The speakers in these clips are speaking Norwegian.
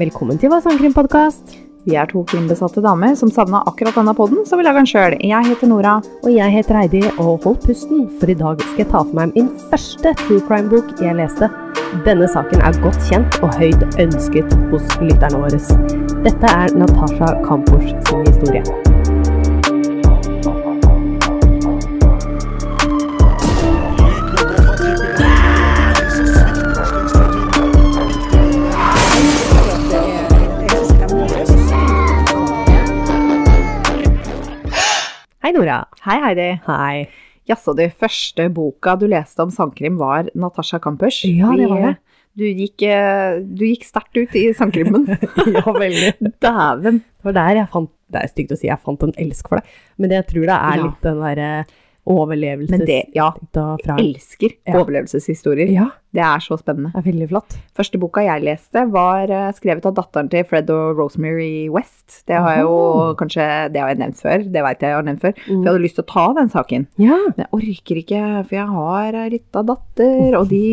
Velkommen til Hva sangkrimpodkast. Vi er to krimbesatte damer som savna akkurat denne podden, så vi lager den sjøl. Jeg heter Nora. Og jeg heter Heidi, og hold pusten, for i dag skal jeg ta for meg min første true crime-bok jeg leste. Denne saken er godt kjent og høyt ønsket hos lytterne våre. Dette er Natasha Kampors sin historie. Hei, Nora. Hei, Heidi. Hei. Jaså, du. Første boka du leste om sangkrim, var Natasha Kampers. Ja, det var det. Du gikk, eh, du gikk sterkt ut i sangkrimmen. Ja, veldig. Dæven. Det var der jeg fant Det er stygt å si, jeg fant en elsk for det. Men jeg tror det er Ja. litt den eh, derre Men det, overlevelsesinstinktet ja. fra Elsker Ja. overlevelseshistorier. Ja, Det er så spennende. det er veldig flott. Første boka jeg leste, var eh, skrevet av datteren til Fred og Rosemary West. Det har jeg jo kanskje Det har jeg nevnt før. Det veit jeg jeg har nevnt før. For jeg hadde lyst til å ta den saken. Ja. Men jeg orker ikke, for jeg har ei lita datter, og de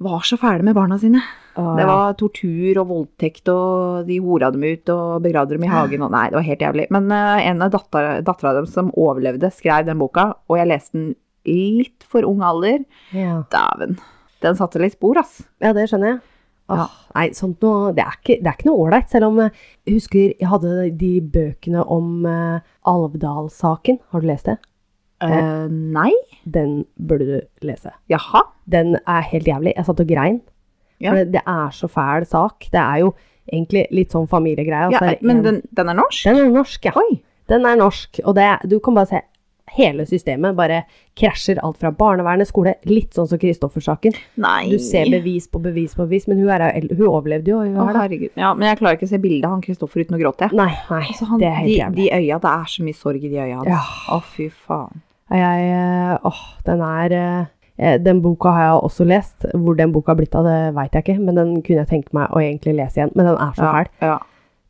var så fæle med barna sine. Det var tortur og voldtekt, og de hora dem ut og begravde dem i hagen. Og nei, det var helt jævlig. Men eh, en av datter- dattera dem som overlevde, skrev den boka, og jeg leste den i litt for ung alder. ja. Dæven. Den satte litt spor, ass. Ja, det skjønner jeg. Åh, Ja. Nei, sånt noe, det, er ikke, det er ikke noe ålreit, selv om eh, jeg husker jeg hadde de bøkene om eh, Alvdal-saken. Har du lest det? Eh, nei? Den burde du lese. Jaha? Den er helt jævlig. Jeg satt og grein. Ja. For det, det er så fæl sak. Det er jo egentlig litt sånn familiegreie. Ja, altså, det er men en- den, den er norsk? den er norsk, ja. Oi. Den er norsk, og det, du kan bare se hele systemet bare krasjer alt fra barnevernet, skole, litt sånn som Kristoffer-saken. Nei. Du ser bevis på bevis på bevis, men hun, er, jo el- hun overlevde jo. og Hun Å, er da. herregud. Ja, men jeg klarer ikke å se bildet av han Kristoffer uten å gråte. jeg. Nei, nei, Altså, han, det er helt de, jævlig. de øya, det er så mye sorg i de øya. hans. Ja. Å, fy faen. Jeg, eh, åh, den er eh, Den boka har jeg også lest. Hvor den boka har blitt av, det veit jeg ikke, men den kunne jeg tenke meg å egentlig lese igjen. Men den er så Ja, fæl. ja.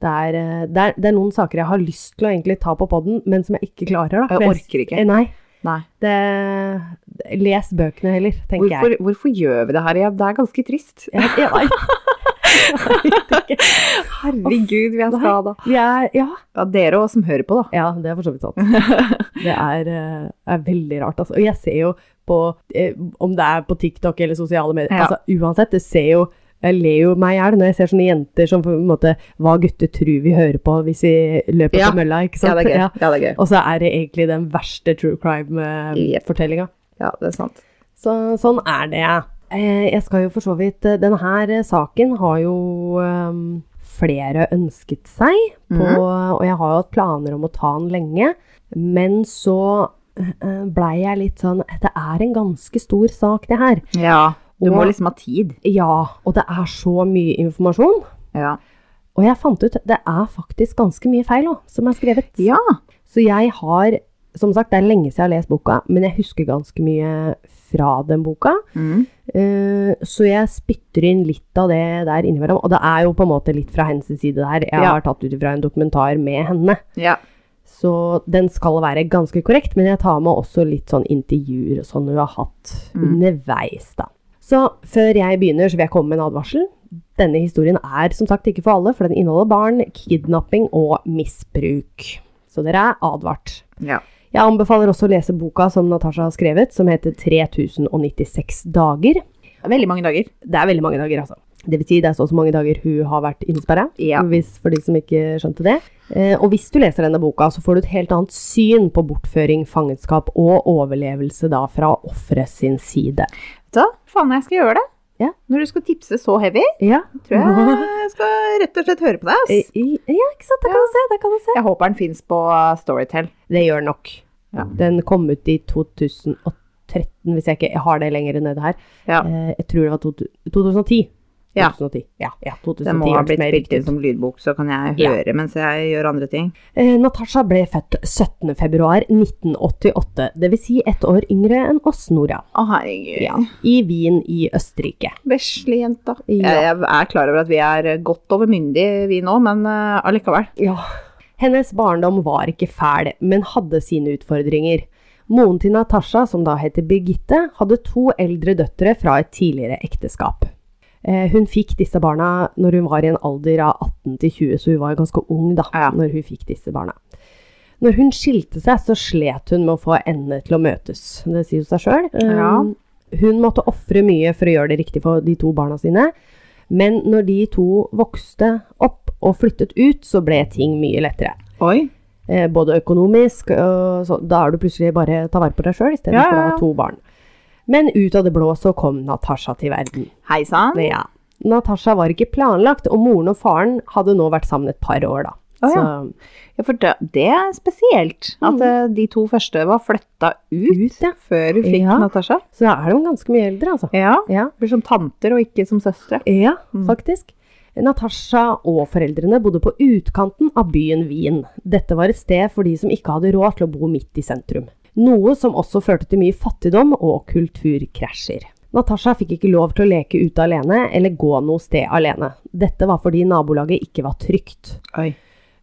Det er, eh, det, er, det er noen saker jeg har lyst til å egentlig ta på poden, men som jeg ikke klarer. Da. Jeg For orker ikke. Eh, Nei. Nei. Det, les bøkene heller, tenker jeg. Hvorfor, hvorfor gjør vi det her igjen? Det er ganske trist. Jeg, jeg, vet- jeg vet ikke. Herregud, vi er Nei. skada. Vi er, ja. Ja, dere også som hører på, da. ja, det er for så vidt sant. Det er, eh, er veldig rart. Altså. Og jeg ser jo på eh, Om det er på TikTok eller sosiale medier Ja. altså, Uansett, det ser jo jeg ler jo meg i hjel når jeg ser sånne jenter som på en måte Hva gutter tror vi hører på hvis vi løper Ja. på mølla, ikke sant? Ja, det er gøy. Ja, det er gøy. Og så er det egentlig den verste true eh, crime-fortellinga. Ja, det er sant. Så, sånn er det. Eh, Jeg skal jo for så vidt eh, Denne her eh, saken har jo ehm, flere ønsket seg, på, og jeg har jo hatt planer om å ta den lenge. Men så eh, blei jeg litt sånn Det er en ganske stor sak, det her. Ja. Du må Og- liksom ha tid. Ja, og det er så mye informasjon. Ja. Og jeg fant ut det er faktisk ganske mye feil òg, som er skrevet. ja. Så jeg har, som sagt, det er lenge siden jeg har lest boka, men jeg husker ganske mye fra den boka. Mm. Eh, så jeg spytter inn litt av det der innimellom. Og det er jo på en måte litt fra hennes side der. Jeg Ja. har tatt ut fra en dokumentar med henne. ja. Så den skal være ganske korrekt, men jeg tar med også litt sånn intervjuer og sånn hun har hatt underveis, da. Så før jeg begynner, så vil jeg komme med en advarsel. Denne historien er som sagt ikke for alle, for den inneholder barn, kidnapping og misbruk. Så dere er advart. ja. Jeg anbefaler også å lese boka som Natasha har skrevet, som heter 3096 dager. Veldig mange dager. Det er veldig mange dager, altså. Det vil si, det er så og så mange dager hun har vært innesperra. Ja. Hvis, for de som ikke skjønte det. Eh, og hvis du leser denne boka, så får du et helt annet syn på bortføring, fangenskap og overlevelse da fra offeret sin side. Vet du hva? Faen, jeg skal gjøre det. Ja. Når du skal tipse så heavy, Ja. tror jeg jeg skal rett og slett høre på deg. Eh, ass. i- Ja, ikke sant. Det kan du se. Det kan du se. Jeg håper den fins på uh, Storytel. Det gjør den nok. Ja. Den kom ut i 2013, hvis jeg ikke jeg har det lenger nede her. Ja. Eh, jeg tror det var to, 2010. Ja. 2010. Ja, ja, 2010 Den må ha hørtes blitt mer spilt riktig inn ut. som lydbok, så kan jeg Ja. høre mens jeg gjør andre ting. Eh, Natasha ble født 17.2.1988, dvs. Si ett år yngre enn oss, Nora. Å, herregud. Ja, I Wien i Østerrike. Vesle jenta. Ja. Jeg, jeg er klar over at vi er eh, godt over myndige, vi nå, men eh, allikevel. Ja. Hennes barndom var ikke fæl, men hadde sine utfordringer. Moren til Natasha, som da heter Birgitte, hadde to eldre døtre fra et tidligere ekteskap. Eh, hun fikk disse barna når hun var i en alder av 18 til 20, så hun var jo ganske ung da Ja. når hun fikk disse barna. Når hun skilte seg, så slet hun med å få endene til å møtes. Det sier jo seg sjøl. Ja. Hun måtte ofre mye for å gjøre det riktig for de to barna sine. Men når de to vokste opp og flyttet ut, så ble ting mye lettere. Oi. Eh, både økonomisk og så, Da er du plutselig bare ta vare på deg sjøl istedenfor Ja, for å ja, ha ja. to barn. Men ut av det blå så kom Natasha til verden. Hei sann. Ja. Natasha var ikke planlagt, og moren og faren hadde nå vært sammen et par år, da. Å, så, ja. Ja, for det, det er spesielt at Mm. eh, de to første var flytta ut, Ut, ja. før hun fikk Ja. Natasha. så da er de ganske mye eldre, altså. Ja. Ja, Blir som tanter og ikke som søstre. ja Mm. faktisk. Natasha og foreldrene bodde på utkanten av byen Wien. Dette var et sted for de som ikke hadde råd til å bo midt i sentrum. Noe som også førte til mye fattigdom og kulturkrasjer. Natasha fikk ikke lov til å leke ute alene eller gå noe sted alene. Dette var fordi nabolaget ikke var trygt. Oi.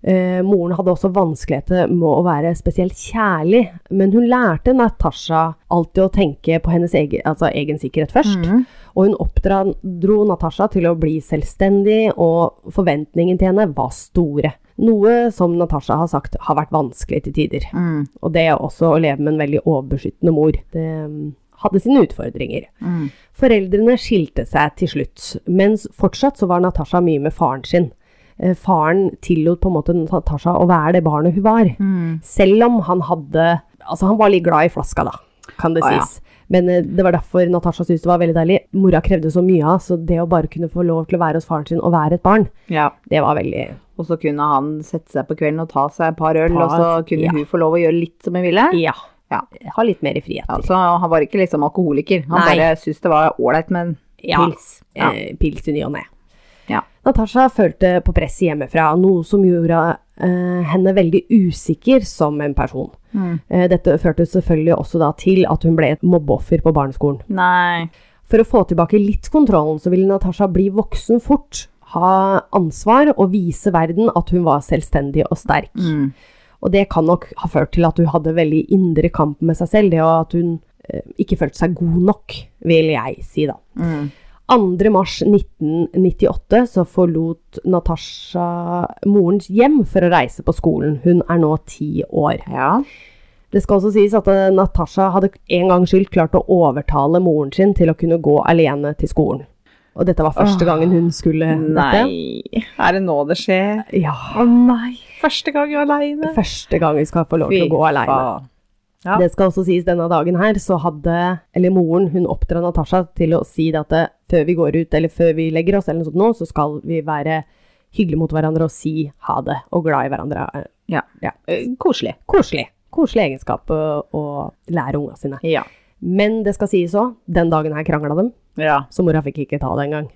Eh, moren hadde også vanskeligheter med å være spesielt kjærlig, men hun lærte Natasha alltid å tenke på hennes egen, altså egen sikkerhet først. Mhm. Og hun oppdro Natasha til å bli selvstendig, og forventningene til henne var store. Noe som Natasha har sagt har vært vanskelig til tider. Mm. Og det også å leve med en veldig overbeskyttende mor. Det mm, hadde sine utfordringer. Mm. Foreldrene skilte seg til slutt, mens fortsatt så var Natasha mye med faren sin. Eh, Faren tillot på en måte Natasha å være det barnet hun var, Mm. selv om han hadde Altså, han var litt glad i flaska, da, kan det Å, ja. sies. Men eh, det var derfor Natasha syntes det var veldig deilig. Mora krevde så mye av, så det å bare kunne få lov til å være hos faren sin og være et barn, Ja. det var veldig Og så kunne han sette seg på kvelden og ta seg et par øl, Par- og så kunne ja. hun få lov å gjøre litt som hun ville. Ja. Ja. Ha litt mer frihet. Ja, så han var ikke liksom alkoholiker. Han Nei. bare syntes det var ålreit med en Ja. pils. Ja. eh, pils i ny og ne. Ja. Natasha følte på press hjemmefra, noe som gjorde eh, henne veldig usikker som en person. Mm. Eh, dette førte selvfølgelig også da til at hun ble et mobbeoffer på barneskolen. Nei. For å få tilbake litt kontrollen, så ville Natasha bli voksen fort, ha ansvar og vise verden at hun var selvstendig og sterk. Mm. Og det kan nok ha ført til at hun hadde veldig indre kamp med seg selv, det og at hun eh, ikke følte seg god nok, vil jeg si da. Mm. 2. mars 1998 så forlot Natasha morens hjem for å reise på skolen. Hun er nå ti år. Ja. Det skal også sies at eh, Natasha hadde en gang skyld klart å overtale moren sin til å kunne gå alene til skolen. Og dette var første Åh, gangen hun skulle dette. Nei. Er det nå det skjer? Ja, Å nei. Første gang aleine. første gang hun skal få lov til å gå alene. Ja. Det skal også sies denne dagen her, så hadde, eller moren, hun oppdra Natasha til å si det at eh, før vi går ut, eller før vi legger oss, eller noe sånt nå, så skal vi være hyggelige mot hverandre og si ha det, og glad i hverandre. Eh, Ja. ja. Koselig. Koselig. Koselig egenskap å, å lære unga sine. Ja. Men det skal sies òg, den dagen her krangla dem, ja. så mora fikk ikke ta det engang.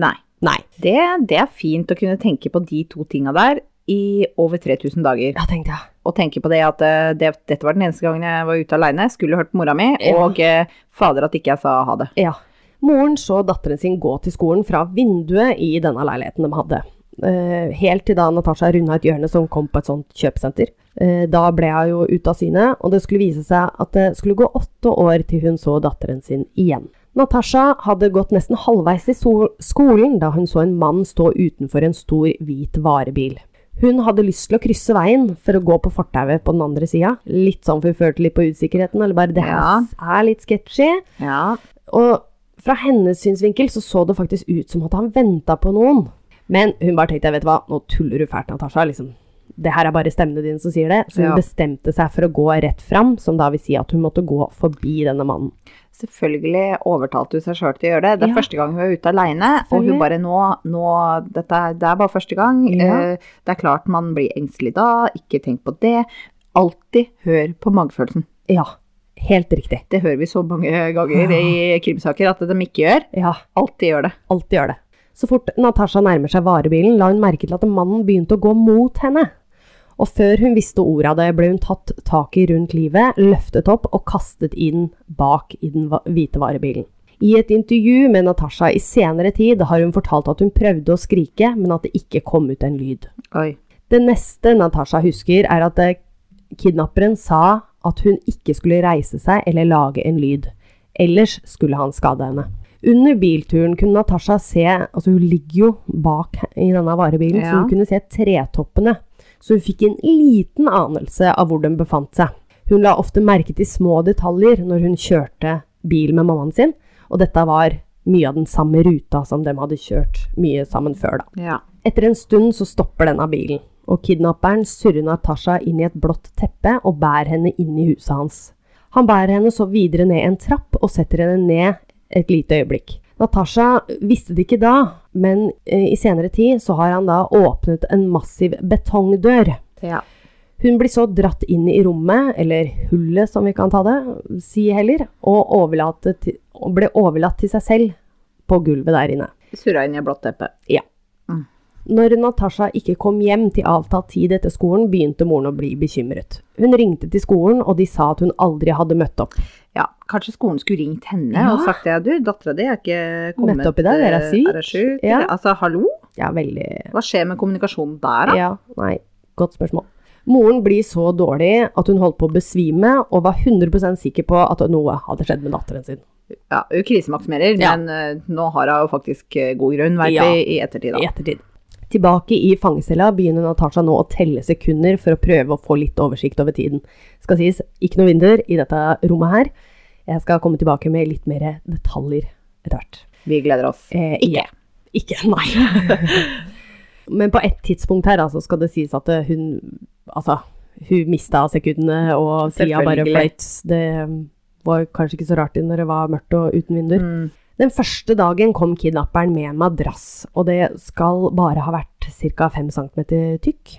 Nei. Nei. Det, det er fint å kunne tenke på de to tinga der i over 3000 dager. Ja, tenkte jeg. Og tenke på det at eh, det, dette var den eneste gangen jeg var ute aleine, skulle hørt på mora mi, Ja. og eh, fader at ikke jeg sa ha det. Ja. Moren så datteren sin gå til skolen fra vinduet i denne leiligheten de hadde. Eh, helt til da Natasha runda et hjørne som kom på et sånt kjøpesenter. Eh, da ble hun jo ute av syne, og det skulle vise seg at det skulle gå åtte år til hun så datteren sin igjen. Natasha hadde gått nesten halvveis i so skolen da hun så en mann stå utenfor en stor, hvit varebil. Hun hadde lyst til å krysse veien for å gå på fortauet på den andre sida. Litt sånn for hun følte litt på usikkerheten, eller bare det her Ja. er litt sketchy. Ja. Og fra hennes synsvinkel så så det faktisk ut som at han venta på noen. Men hun bare tenkte, vet du hva, nå tuller du fælt, Natasha. liksom. Det her er bare stemmene dine som sier det. Så hun Ja. bestemte seg for å gå rett fram, som da vil si at hun måtte gå forbi denne mannen. Selvfølgelig overtalte hun seg sjøl til å gjøre det. Det er Ja. første gang hun er ute aleine, og Selvfølgelig. hun bare nå, nå dette, er- Det er bare første gang. Ja. Eh, Det er klart man blir engstelig da, ikke tenk på det. Alltid hør på magefølelsen. Ja, helt riktig. Det hører vi så mange ganger i krimsaker at de ikke gjør. Ja, Alltid gjør det. alltid gjør det. Så fort Natasha nærmer seg varebilen, la hun merke til at mannen begynte å gå mot henne. Og før hun visste ordet av det, ble hun tatt tak i rundt livet, løftet opp og kastet inn bak i den va- hvite varebilen. I et intervju med Natasha i senere tid har hun fortalt at hun prøvde å skrike, men at det ikke kom ut en lyd. Oi. Det neste Natasha husker, er at eh, kidnapperen sa at hun ikke skulle reise seg eller lage en lyd. Ellers skulle han skade henne. Under bilturen kunne Natasha se altså Hun ligger jo bak i denne varebilen, så Ja. hun kunne se tretoppene. Så hun fikk en liten anelse av hvor den befant seg. Hun la ofte merke til små detaljer når hun kjørte bil med mammaen sin, og dette var mye av den samme ruta som de hadde kjørt mye sammen før, da. Ja. Etter en stund så stopper denne bilen, og kidnapperen surrer Natasha inn i et blått teppe og bærer henne inn i huset hans. Han bærer henne så videre ned en trapp og setter henne ned et lite øyeblikk. Natasha visste det ikke da, men eh, i senere tid så har han da åpnet en massiv betongdør. Ja. Hun blir så dratt inn i rommet, eller hullet som vi kan ta det, si heller, og overlatt til, og ble overlatt til seg selv på gulvet der inne. Surra inn i et blått teppe. Ja. Mm. Når Natasha ikke kom hjem til avtalt tid etter skolen, begynte moren å bli bekymret. Hun ringte til skolen, og de sa at hun aldri hadde møtt opp. Ja, kanskje skolen skulle ringt henne Ja. og sagt det. Du, dattera di er ikke kommet Møtt opp i dag, er hun eh, syk? Er hun syk? Ja. eller? Altså, hallo? Ja, veldig Hva skjer med kommunikasjonen der, da? Ja, nei, godt spørsmål. Moren blir så dårlig at hun holdt på å besvime, og var 100 sikker på at noe hadde skjedd med datteren sin. Ja, hun krisemaksimerer, Ja. men eh, nå har hun jo faktisk eh, god grunn, veit Ja. vi, i i ettertid, da. ettertid. Tilbake i fangecella begynner Natasha nå å telle sekunder for å prøve å få litt oversikt over tiden. Skal sies, ikke noe vinduer i dette rommet her. Jeg skal komme tilbake med litt mer detaljer etter hvert. Vi gleder oss. Eh, ikke. Ikke, nei. Men på et tidspunkt her altså, skal det sies at eh, hun Altså, hun mista sekundene, og tida bare Selvfølgelig. fløyt. Det um, var kanskje ikke så rart når det var mørkt og uten vinduer. Mm. Den første dagen kom kidnapperen med en madrass, og det skal bare ha vært ca. 5 cm tykk.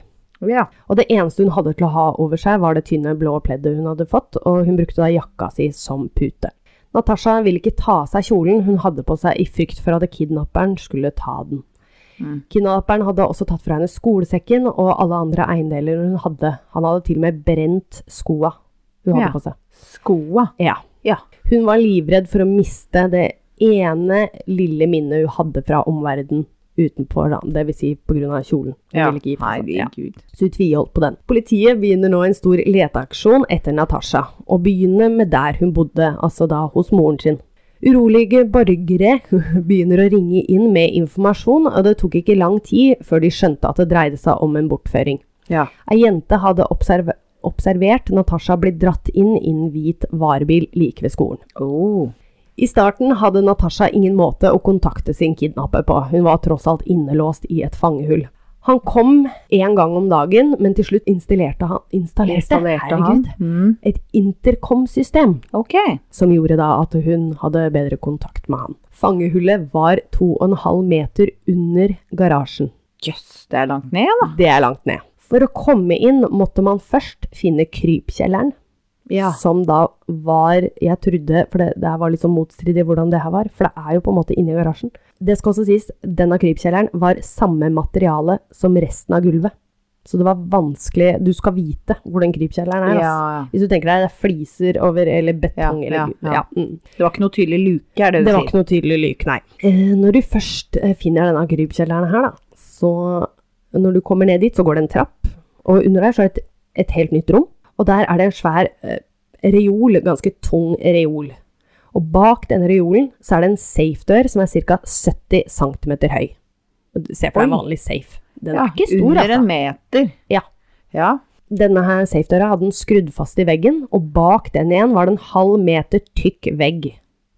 Ja. Og det eneste hun hadde til å ha over seg, var det tynne, blå pleddet hun hadde fått, og hun brukte da jakka si som pute. Natasha ville ikke ta av seg kjolen hun hadde på seg i frykt for at kidnapperen skulle ta den. Mm. Kidnapperen hadde også tatt fra henne skolesekken og alle andre eiendeler hun hadde. Han hadde til og med brent skoa hun hadde Ja. på seg. Skoa. Ja. Ja. Hun var livredd for å miste det ene lille minnet hun hadde fra omverdenen utenfor, da. det vil si på grunn av kjolen. Hun ville ikke gi fra seg. Ja. Herregud. Så hun tviholdt på den. Politiet begynner nå en stor leteaksjon etter Natasha, og begynner med der hun bodde, altså da hos moren sin. Urolige borgere begynner å ringe inn med informasjon, og det tok ikke lang tid før de skjønte at det dreide seg om en bortføring. Ja. Ei jente hadde observ observert Natasha bli dratt inn i en hvit varebil like ved skolen. Oh. I starten hadde Natasha ingen måte å kontakte sin kidnapper på, hun var tross alt innelåst i et fangehull. Han kom én gang om dagen, men til slutt installerte han, installerte, Installerte han. herregud, Mm. et intercom-system Ok. som gjorde da at hun hadde bedre kontakt med han. Fangehullet var 2,5 meter under garasjen. Jøss, det er langt ned, da. Det er langt ned. For å komme inn måtte man først finne krypkjelleren, som da var Jeg trodde For det, det her var litt sånn motstridig hvordan det her var, for det er jo på en måte inni garasjen. Det skal også sies, denne krypkjelleren var samme materiale som resten av gulvet. Så det var vanskelig Du skal vite hvor den krypkjelleren er. Ja, ass. ja. Hvis du tenker deg det er fliser over, eller betong, Ja, eller ja, gu- ja. mm. Det var ikke noe tydelig luke, er det du Det var sier? ikke noe tydelig lyk, nei. Eh, når du først eh, finner denne krypkjelleren her, da, så når du kommer ned dit, så går det en trapp, og under der så er det et, et helt nytt rom, og der er det en svær eh, reol, ganske tung reol. Og bak denne reolen så er det en safe-dør som er ca. 70 cm høy. Se på en Oi. vanlig safe. Den Ja, er ikke stor, under altså. en meter. Ja. Ja. Denne her safe-døra hadde den skrudd fast i veggen, og bak den igjen var det en halv meter tykk vegg.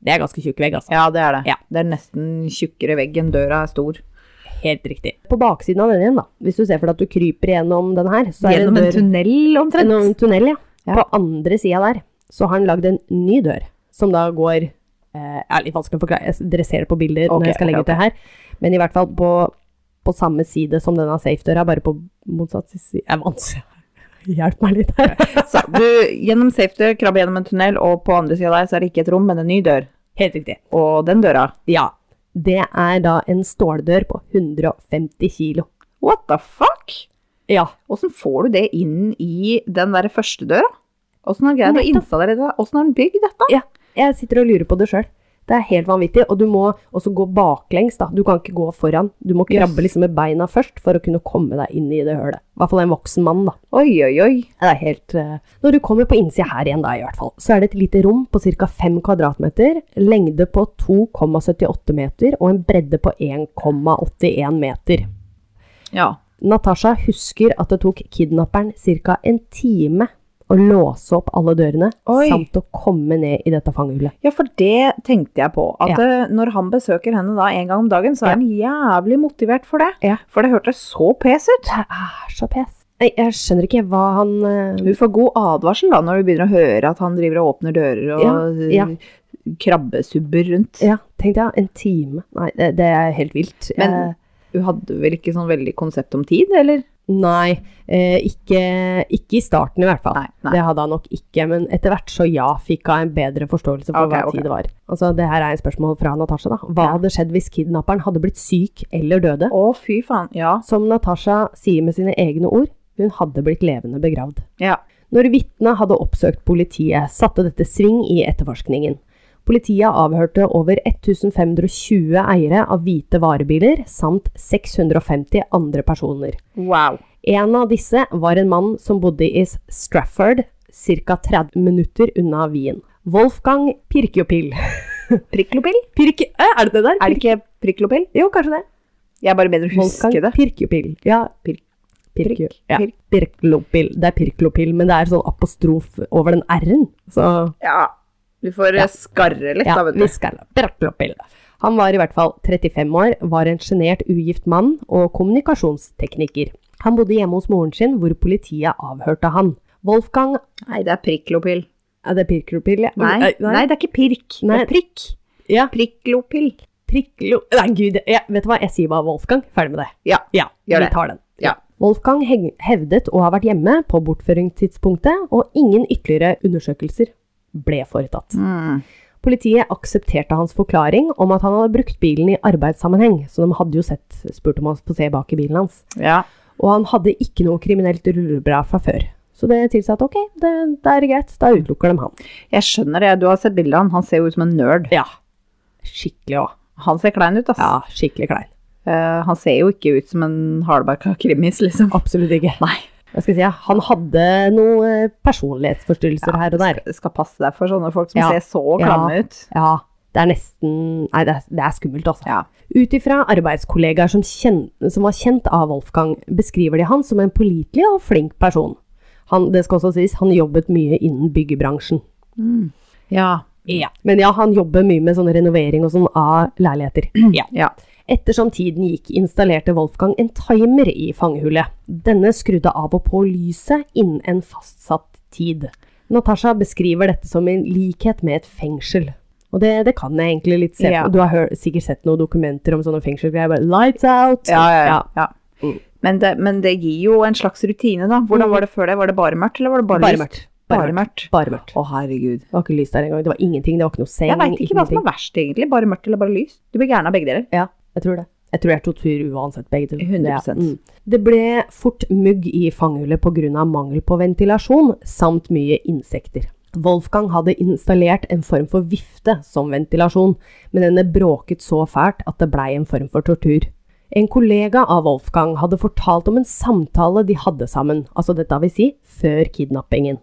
Det er ganske tjukk vegg, altså. ja, det er det. Ja. Det er nesten tjukkere vegg enn døra er stor. Helt riktig. På baksiden av den igjen, da. Hvis du ser for deg at du kryper gjennom den her, så er det Gjennom en dør- tunnel, gjennom omtrent. en tunnel. Ja. Ja. På andre sida der så har han lagd en ny dør, som da går eh, er litt vanskelig å forklare, jeg dresserer på bilder Ok, når jeg skal ok, legge ut det her, men i hvert fall på, på samme side som denne safe-døra, bare på motsatt side. Jeg er vanskelig. Hjelp meg litt her. Så du, gjennom safety, krabbe gjennom en tunnel, og på andre sida der så er det ikke et rom, men en ny dør. Helt riktig. Og den døra Ja. Det er da en ståldør på 150 kilo. What the fuck? Ja. Åssen får du det inn i den derre første døra? Åssen har han greid å Nettopp. installere det? Åssen har han bygd dette? Ja, jeg sitter og lurer på det sjøl. Det er helt vanvittig, og du må også gå baklengs. da. Du kan ikke gå foran. Du må krabbe Yes. liksom med beina først for å kunne komme deg inn i det hølet. I hvert fall en voksen mann, da. Oi, oi, oi. Det er helt eh, Når du kommer på innsida her igjen, da, i hvert fall, så er det et lite rom på ca. 5 kvadratmeter, lengde på 2,78 meter og en bredde på 1,81 meter. Ja. Natasha husker at det tok kidnapperen ca. en time å låse opp alle dørene, Oi. samt å komme ned i dette fangehullet. Ja, for det tenkte jeg på. At Ja. eh, når han besøker henne da en gang om dagen, så er Ja. han jævlig motivert for det. Ja. For det hørtes så pes ut. Det er så pes. Nei, jeg skjønner ikke hva han eh, Du får god advarsel da når du begynner å høre at han driver og åpner dører og Ja, ja. eh, krabbesubber rundt. Ja, tenkte jeg. En time. Nei, det, det er helt vilt. Men Jeg- du hadde vel ikke sånn veldig konsept om tid, eller? Nei, eh, ikke, ikke i starten i hvert fall. Nei, nei. Det hadde han nok ikke, men etter hvert så ja, fikk hun en bedre forståelse for Ok, hva ok. tid det var. Altså, det her er et spørsmål fra Natasha, da. Hva Ja. hadde skjedd hvis kidnapperen hadde blitt syk eller døde? Å, fy faen. Ja. Som Natasha sier med sine egne ord, hun hadde blitt levende begravd. Ja. Når vitnet hadde oppsøkt politiet, satte dette sving i etterforskningen. Politiet avhørte over 1520 eiere av hvite varebiler, samt 650 andre personer. Wow. En av disse var en mann som bodde i Strafford, ca. 30 minutter unna Wien. Wolfgang Pirkjopill. Priklopill? Pirk... Eh, Er det det der? Er det ikke priklopill? Pirk- Jo, kanskje det. Jeg er bare bedre å huske Wolfgang det. Pirkjopill. Ja, Pirk- Pirkjo... Prikk, Ja. pirk. Pirklopill. Det er Pirklopill, men det er sånn apostrof over den r-en. Så Ja. Du får eh, skarre litt, ja, da, vet vi du. skal Pirklopill. Han var i hvert fall 35 år, var en sjenert ugift mann og kommunikasjonstekniker. Han bodde hjemme hos moren sin, hvor politiet avhørte han. Wolfgang Nei, det er priklopill. Er det pirklopill? ja? Nei. Eh, Nei, det er ikke pirk. Nei. Det er prikk. Ja. Priklopill. Priklo... Nei, gud. Ja, vet du hva? Jeg sier bare Wolfgang. Ferdig med det. Ja. Ja, vi Gjør det. tar den. Ja. Wolfgang heng- hevdet å ha vært hjemme på bortføringstidspunktet, og ingen ytterligere undersøkelser ble foretatt. Mm. Politiet aksepterte hans forklaring om at han hadde brukt bilen i arbeidssammenheng, så de hadde jo sett, spurt om han skulle se bak i bilen hans. Ja. Og han hadde ikke noe kriminelt rulleblad fra før. Så det tilsa at ok, det, det er greit, da utelukker de han. Jeg skjønner det. Du har sett bildet av han. Han ser jo ut som en nerd. Ja. Skikkelig òg. Han ser klein ut, ass. Ja, skikkelig klein. Eh, han ser jo ikke ut som en hardbarka krimis, liksom. Absolutt ikke. Nei. Hva skal jeg si? ja? Han hadde noen eh, personlighetsforstyrrelser her og der. Skal, skal passe deg for sånne folk som Ja. ser så klamme ut. Ja, det er nesten Nei, det er, det er skummelt, altså. Ja. Ut ifra arbeidskollegaer som, kjen, som var kjent av Wolfgang, beskriver de han som en pålitelig og flink person. Han, det skal også sies, han jobbet mye innen byggebransjen. Ja. Ja. Men ja, han jobber mye med sånn renovering og sånn av leiligheter. Ja. ja. Ettersom tiden gikk, installerte Wolfgang en timer i fangehullet. Denne skrudde av og på lyset innen en fastsatt tid. Natasha beskriver dette som en likhet med et fengsel. Og det, det kan jeg egentlig litt se på. Ja. Du har hør, sikkert sett noen dokumenter om sånne fengselsgreier. Bare lights out! Ja, ja, ja. Ja, ja. Mm. Men, det, men det gir jo en slags rutine, da. Hvordan var det før det? Var det bare mørkt, eller var det bare, Bare lyst? mørkt. Bare Bare mørkt. Bare mørkt. Å, herregud. Det var ikke lys der engang. Det var ingenting. Det var ikke noe seng. Jeg veit ikke hva som er verst, egentlig. Bare mørkt eller bare lyst. Du blir gæren av begge deler. Ja, jeg tror det. Jeg tror jeg tok tur uansett, begge to. 100%. Det, er- det ble fort mugg i fangehullet pga. mangel på ventilasjon, samt mye insekter. Wolfgang hadde installert en form for vifte som ventilasjon, men denne bråket så fælt at det blei en form for tortur. En kollega av Wolfgang hadde fortalt om en samtale de hadde sammen, altså dette vil si før kidnappingen.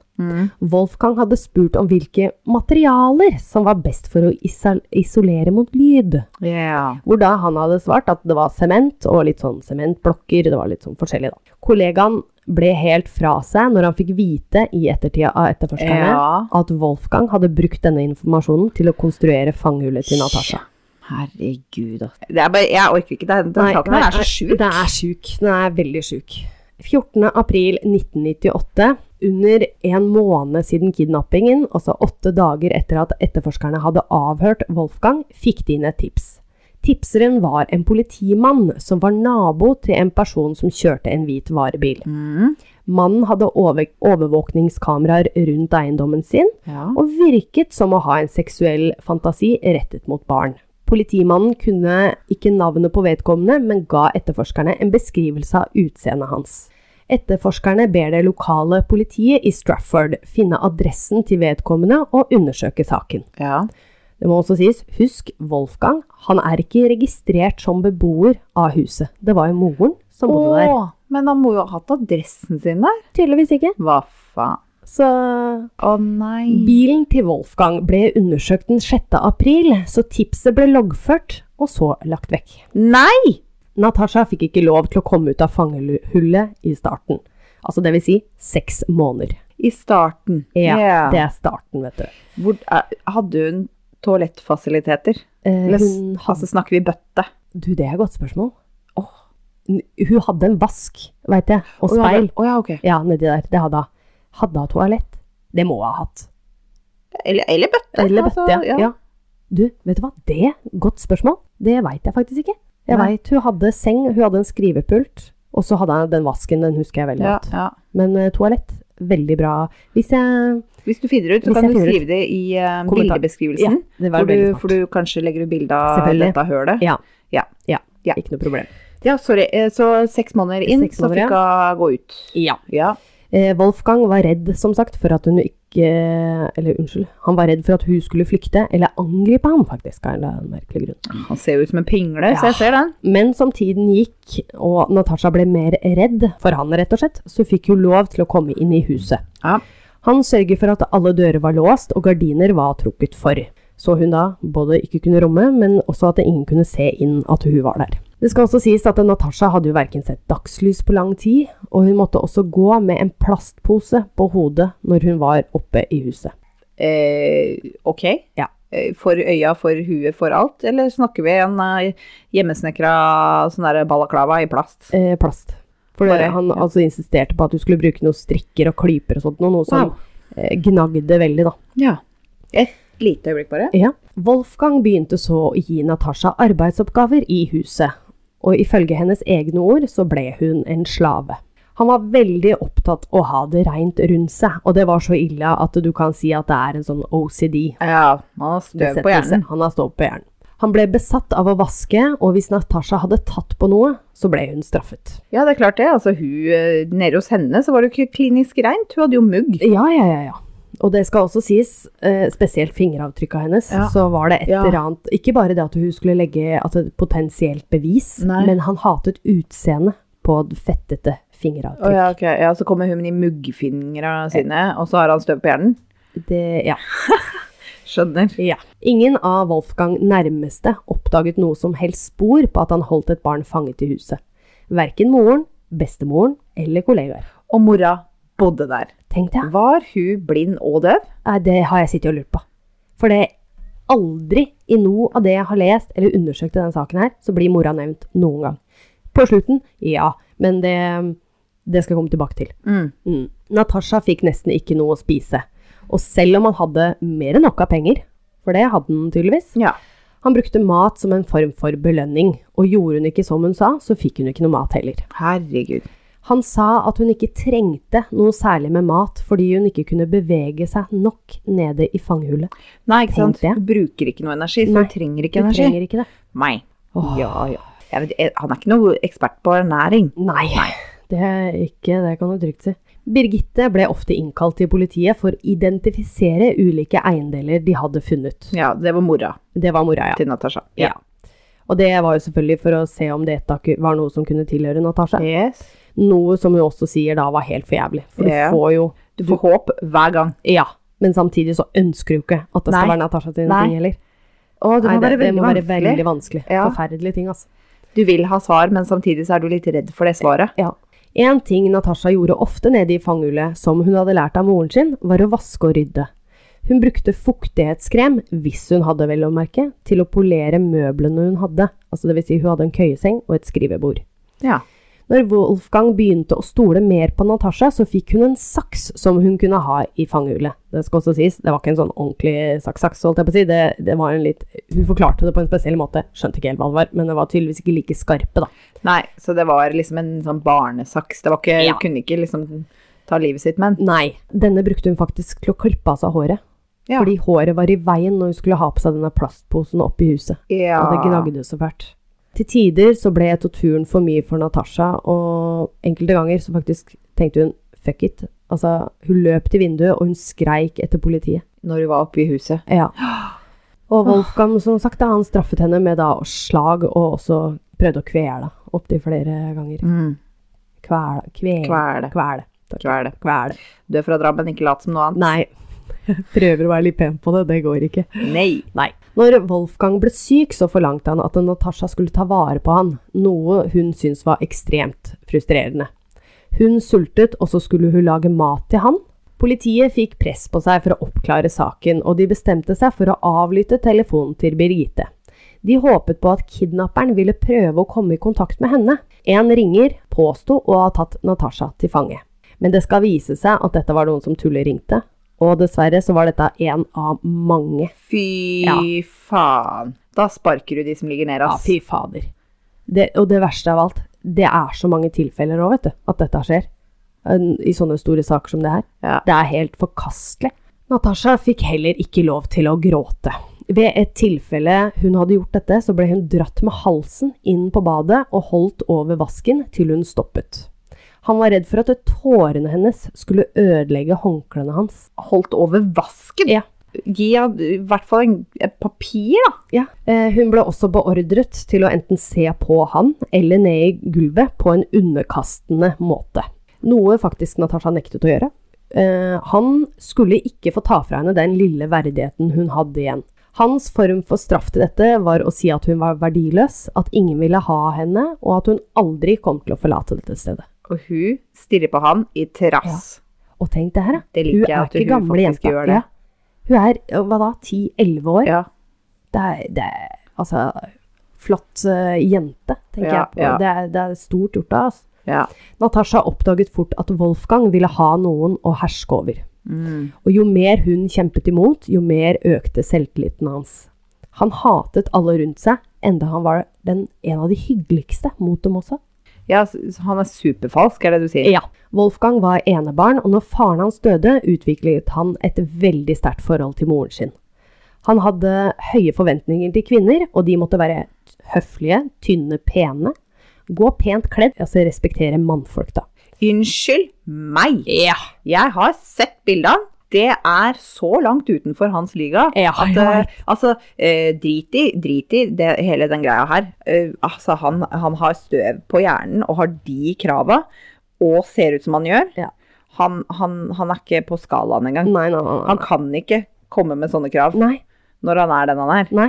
Wolfgang hadde spurt om hvilke materialer som var best for å isol- isolere mot lyd. Ja. Hvor da han hadde svart at det var sement og litt sånn sementblokker, det var litt sånn forskjellig da. Kollegaen ble helt fra seg når han fikk vite i ettertida av etterforskerne Ja. at Wolfgang hadde brukt denne informasjonen til å konstruere fangehullet til Natasha. Herregud, altså. Det er bare, jeg orker ikke. Den, den saken her er så sjuk. Den er sjuk. Den er veldig sjuk. 14. april 1998, under en måned siden kidnappingen, altså åtte dager etter at etterforskerne hadde avhørt Wolfgang, fikk de inn et tips. Tipseren var en politimann som var nabo til en person som kjørte en hvit varebil. Mm. Mannen hadde over overvåkningskameraer rundt eiendommen sin, Ja. og virket som å ha en seksuell fantasi rettet mot barn. Politimannen kunne ikke navnet på vedkommende, men ga etterforskerne en beskrivelse av utseendet hans. Etterforskerne ber det lokale politiet i Strafford finne adressen til vedkommende og undersøke saken. ja. Det må også sies, husk Wolfgang, han er ikke registrert som beboer av huset. Det var jo moren som bodde der. Åh, Men han må jo ha hatt adressen sin der. Tydeligvis ikke. Hva faen? Så Å nei. bilen til Wolfgang ble undersøkt den 6. april, så tipset ble loggført og så lagt vekk. Nei! Natasha fikk ikke lov til å komme ut av fangehullet i starten. Altså det vil si seks måneder. I starten. Ja, Ja. det er starten, vet du. Hvor, er- hadde hun toalettfasiliteter? Eh, Eller s- hun hadde, altså, snakker vi bøtte? du, det er et godt spørsmål. N- Hun hadde en vask, veit jeg, og Å, ja, speil. det- Å ja, ok. Ja, nedi der. Det hadde hun. Hadde hun toalett? Det må hun ha hatt. Eller, eller bøtte. Eller altså, bøtte, ja. ja. Du, vet du hva? Det, godt spørsmål. Det veit jeg faktisk ikke. Jeg Nei. veit hun hadde seng, hun hadde en skrivepult, og så hadde hun den vasken, den husker jeg veldig Ja, godt. ja. Men eh, toalett, veldig bra. Hvis jeg Hvis du finner ut, så Hvis kan jeg du finner ut. skrive det i eh, Kommentar. bildebeskrivelsen. Det var For du, veldig smart. for du kanskje legger ut bilde av Selvfølgelig. dette hølet. Ja. Ja. ja. Ja. Ikke noe problem. Ja, sorry. eh, Så seks måneder inn, Seks så måneder, fikk hun gå ut. Ja. Ja. Eh, Wolfgang var redd, som sagt, for at hun ikke Eller unnskyld. Han var redd for at hun skulle flykte, eller angripe ham, faktisk, av en eller annen merkelig grunn. Han ser jo ut som en pingle, Ja. så jeg ser den. Men som tiden gikk, og Natasha ble mer redd for han, rett og slett, så fikk hun lov til å komme inn i huset. Ja. Han sørget for at alle dører var låst, og gardiner var trukket for. Så hun da både ikke kunne romme, men også at ingen kunne se inn at hun var der. Det skal også sies at Natasha hadde jo verken sett dagslys på lang tid, og hun måtte også gå med en plastpose på hodet når hun var oppe i huset. Eh, ok. Ja. Eh, For øya, for huet, for alt? Eller snakker vi en eh, hjemmesnekra sånn der balaklava i plast? Eh, plast. For det, Bare- han ja. altså insisterte på at du skulle bruke noen strikker og klyper og sånt, noe, noe som Wow. eh, gnagde veldig, da. Ja. Et lite øyeblikk bare. Ja. Wolfgang begynte så å gi Natasha arbeidsoppgaver i huset, og ifølge hennes egne ord så ble hun en slave. Han var veldig opptatt å ha det rent rundt seg, og det var så ille at du kan si at det er en sånn OCD. Ja, man har støv besettelse. på hjernen. Han har stått på hjernen. Han ble besatt av å vaske, og hvis Natasha hadde tatt på noe, så ble hun straffet. Ja, det er klart det. Altså, hun, eh, nede hos henne så var det jo ikke klinisk rent. Hun hadde jo mugg. Ja, ja, ja. ja. Og det skal også sies, eh, spesielt fingeravtrykka hennes, Ja. så var det et Ja. eller annet Ikke bare det at hun skulle legge at et potensielt bevis, Nei. men han hatet utseendet på det fettete Å fingeravtrykk. ja, ok. Ja, så kommer hun med de muggfingra sine, og så har han støv på hjernen. Det, ja. Skjønner. ja. Ingen av Wolfgang nærmeste oppdaget noe som helst spor på at han holdt et barn fanget i huset. Verken moren, bestemoren eller kollegaer. Og mora bodde der. Tenk deg, Var hun blind og døv? Nei, Eh, det har jeg sittet og lurt på. For det aldri i noe av det jeg har lest eller undersøkt i denne saken her, så blir mora nevnt noen gang. På slutten, ja, men det, det skal jeg komme tilbake til. Mm. Mm. Natasha fikk nesten ikke noe å spise. Og selv om han hadde mer enn nok av penger, for det hadde han tydeligvis, Ja. han brukte mat som en form for belønning, og gjorde hun ikke som hun sa, så fikk hun ikke noe mat heller. Herregud. Han sa at hun ikke trengte noe særlig med mat fordi hun ikke kunne bevege seg nok nede i fangehullet. Nei, ikke Tenk sant. det. Hun bruker ikke noe energi, så Nei. hun trenger Du ikke energi. trenger ikke det. Nei. Åh. Ja, ja. Jeg vet, jeg, han er ikke noe ekspert på ernæring. Nei, det er ikke det kan du trygt si. Birgitte ble ofte innkalt til politiet for å identifisere ulike eiendeler de hadde funnet. Ja, det var mora Det var mora, ja. til Natasha. ja. Og det var jo selvfølgelig for å se om det taku- var noe som kunne tilhøre Natasha. Yes. Noe som hun også sier da var helt for jævlig. For Ja. du får jo Du får håp hver gang. Ja. Men samtidig så ønsker du ikke at det skal Nei. være Natasha sine Nei. ting heller. Å, det Nei, det, må være det veldig må være vanskelig. veldig vanskelig. Ja. Forferdelige ting, altså. Du vil ha svar, men samtidig så er du litt redd for det svaret. Ja. En ting Natasha gjorde ofte nede i fangehullet, som hun hadde lært av moren sin, var å vaske og rydde. Hun brukte fuktighetskrem, hvis hun hadde vel å merke, til å polere møblene hun hadde. Altså det vil si, hun hadde en køyeseng og et skrivebord. Ja. Når Wolfgang begynte å stole mer på Natasha, så fikk hun en saks som hun kunne ha i fangehullet. Det skal også sies, det var ikke en sånn ordentlig saks-saks, holdt jeg på å si. Det, det var en litt Hun forklarte det på en spesiell måte. Skjønte ikke helt hva det var, men det var tydeligvis ikke like skarpe, da. Nei, så det var liksom en sånn barnesaks. Det var ikke, Ja. kunne ikke liksom ta livet sitt med den. Nei. Denne brukte hun faktisk til å klippe av seg håret. Ja. Fordi håret var i veien når hun skulle ha på seg denne plastposen opp i huset. Ja. Og det gnagde så fælt. Til tider så ble torturen for mye for Natasha, og enkelte ganger så faktisk tenkte hun fuck it. Altså, hun løp til vinduet, og hun skreik etter politiet. Når hun var oppe i huset. Ja. Og Wolfgang, som sagt, da, han straffet Mm. henne med da slag, og også prøvde å kvele opptil flere ganger. Kvele. Kvele. Kvele. Kvele. Kvele. Kvele. Du er fra Drammen, ikke lat som noe annet. Nei. Jeg prøver å være litt pen på det. Det går ikke. Nei. Nei. Når Wolfgang ble syk, så forlangte han at Natasha skulle ta vare på han, noe hun syntes var ekstremt frustrerende. Hun sultet, og så skulle hun lage mat til han. Politiet fikk press på seg for å oppklare saken, og de bestemte seg for å avlytte telefonen til Birgitte. De håpet på at kidnapperen ville prøve å komme i kontakt med henne. En ringer påsto å ha tatt Natasha til fange. Men det skal vise seg at dette var noen som tulleringte, og dessverre så var dette en av mange Fy Ja. faen. Da sparker du de som ligger ned, Ja, ass. fy fader. Det, og det verste av alt, det er så mange tilfeller òg, vet du, at dette skjer. En- I sånne store saker som det her. Ja. Det er helt forkastelig. Natasha fikk heller ikke lov til å gråte. Ved et tilfelle hun hadde gjort dette, så ble hun dratt med halsen inn på badet og holdt over vasken til hun stoppet. Han var redd for at tårene hennes skulle ødelegge håndklærne hans. Holdt over vasken. Ja. Gi han i hvert fall en, et papir, da. Ja. Eh, hun ble også beordret til å enten se på han eller ned i gulvet på en underkastende måte. Noe faktisk Natasha nektet å gjøre. Eh, han skulle ikke få ta fra henne den lille verdigheten hun hadde igjen. Hans form for straff til dette var å si at hun var verdiløs, at ingen ville ha henne, og at hun aldri kom til å forlate dette stedet. Og hun stirrer på han i trass. Og tenk det her, da. Det Hun liker jeg er at ikke gamle hun faktisk jenta. gjør det. Ja. Hun er, eh, hva da, 10-11 år? Ja. det er, det er altså flott eh, jente, tenker Ja, jeg på. ja. Det, er, det er stort gjort av. Altså. ja. Natasha oppdaget fort at Wolfgang ville ha noen å herske over. Mm. Og jo mer hun kjempet imot, jo mer økte selvtilliten hans. Han hatet alle rundt seg, enda han var den, en av de hyggeligste mot dem også. ja, s- han er superfalsk, er det du sier? Ja. Wolfgang var enebarn, og når faren hans døde, utviklet han et veldig sterkt forhold til moren sin. Han hadde høye forventninger til kvinner, og de måtte være høflige, tynne, pene. Gå pent kledd, altså respektere mannfolk, da. Unnskyld meg! Ja. Jeg har sett bildene. Det er så langt utenfor hans liga. Ja, At, ja. eh, altså, eh, drit i, drit i det, hele den greia her. Eh, altså, han, han har støv på hjernen og har de krava, og ser ut som han gjør. Ja. Han, han, han er ikke på skalaen engang. Nei, nei, nei. Han kan ikke komme med sånne krav Nei. når han er den han er. nei.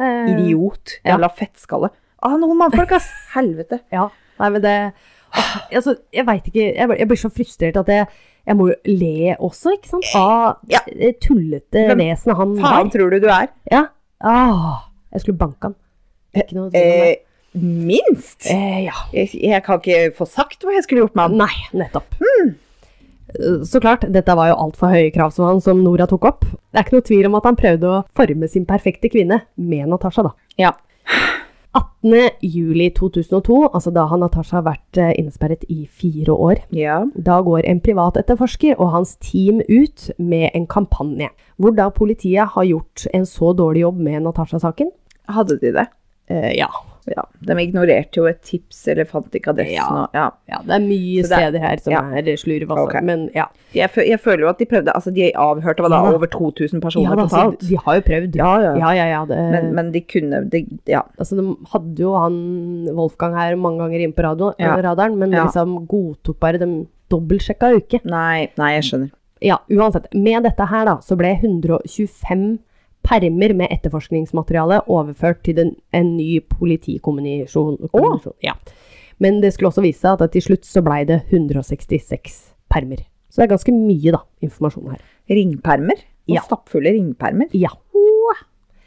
Eh, Idiot. Ja. Jævla fettskalle. Ah, noen mannfolk, ass! Helvete. Ja. Nei, men det Åh, altså, Jeg veit ikke Jeg blir- jeg blir så frustrert at jeg, jeg må jo le også, ikke sant? Av Ja. det tullete Hvem vesenet han var. Faen tror du du er? Ja. Ah, jeg skulle banke han. Ikke noe tvil om det. Eh, minst! Eh, ja. Jeg, jeg kan ikke få sagt hva jeg skulle gjort med han. Nei, nettopp. Eh, Hmm. Så klart, dette var jo altfor høye krav som han som Nora tok opp. Det er ikke noe tvil om at han prøvde å forme sin perfekte kvinne med Natasha, da. Ja. 18. juli 2002, altså da har Natasha vært eh, innesperret i fire år, Ja. Da går en privat etterforsker og hans team ut med en kampanje, hvor da politiet har gjort en så dårlig jobb med Natasha-saken. Hadde de det? Eh, ja. Ja. De ignorerte jo et tips, eller fant ikke adressen. Ja. Og, ja. ja, det er mye Så det er- steder her som ja. er slurv, altså. Ok. Men ja. Jeg, fø- jeg føler jo at de prøvde Altså, de avhørte hva da, Ja da. over 2000 ja personer da, altså, totalt. de har jo prøvd. Ja, ja. ja, ja, ja, det, Men, men de kunne de, Ja. altså, de hadde jo han Wolfgang her mange ganger inne på radio, eh, Ja. radaren, men Ja. liksom godtok bare de dobbeltsjekka jo ikke. Nei, nei, jeg skjønner. Ja, uansett. Med dette her da, så ble 125 permer med etterforskningsmateriale overført til den, en ny politikommunisjon. kommunisjon, Ja. Men det skulle også vise seg at til slutt så blei det 166 permer. Så det er ganske mye da, informasjon her. Ringpermer? Og Ja. stappfulle ringpermer? Ja.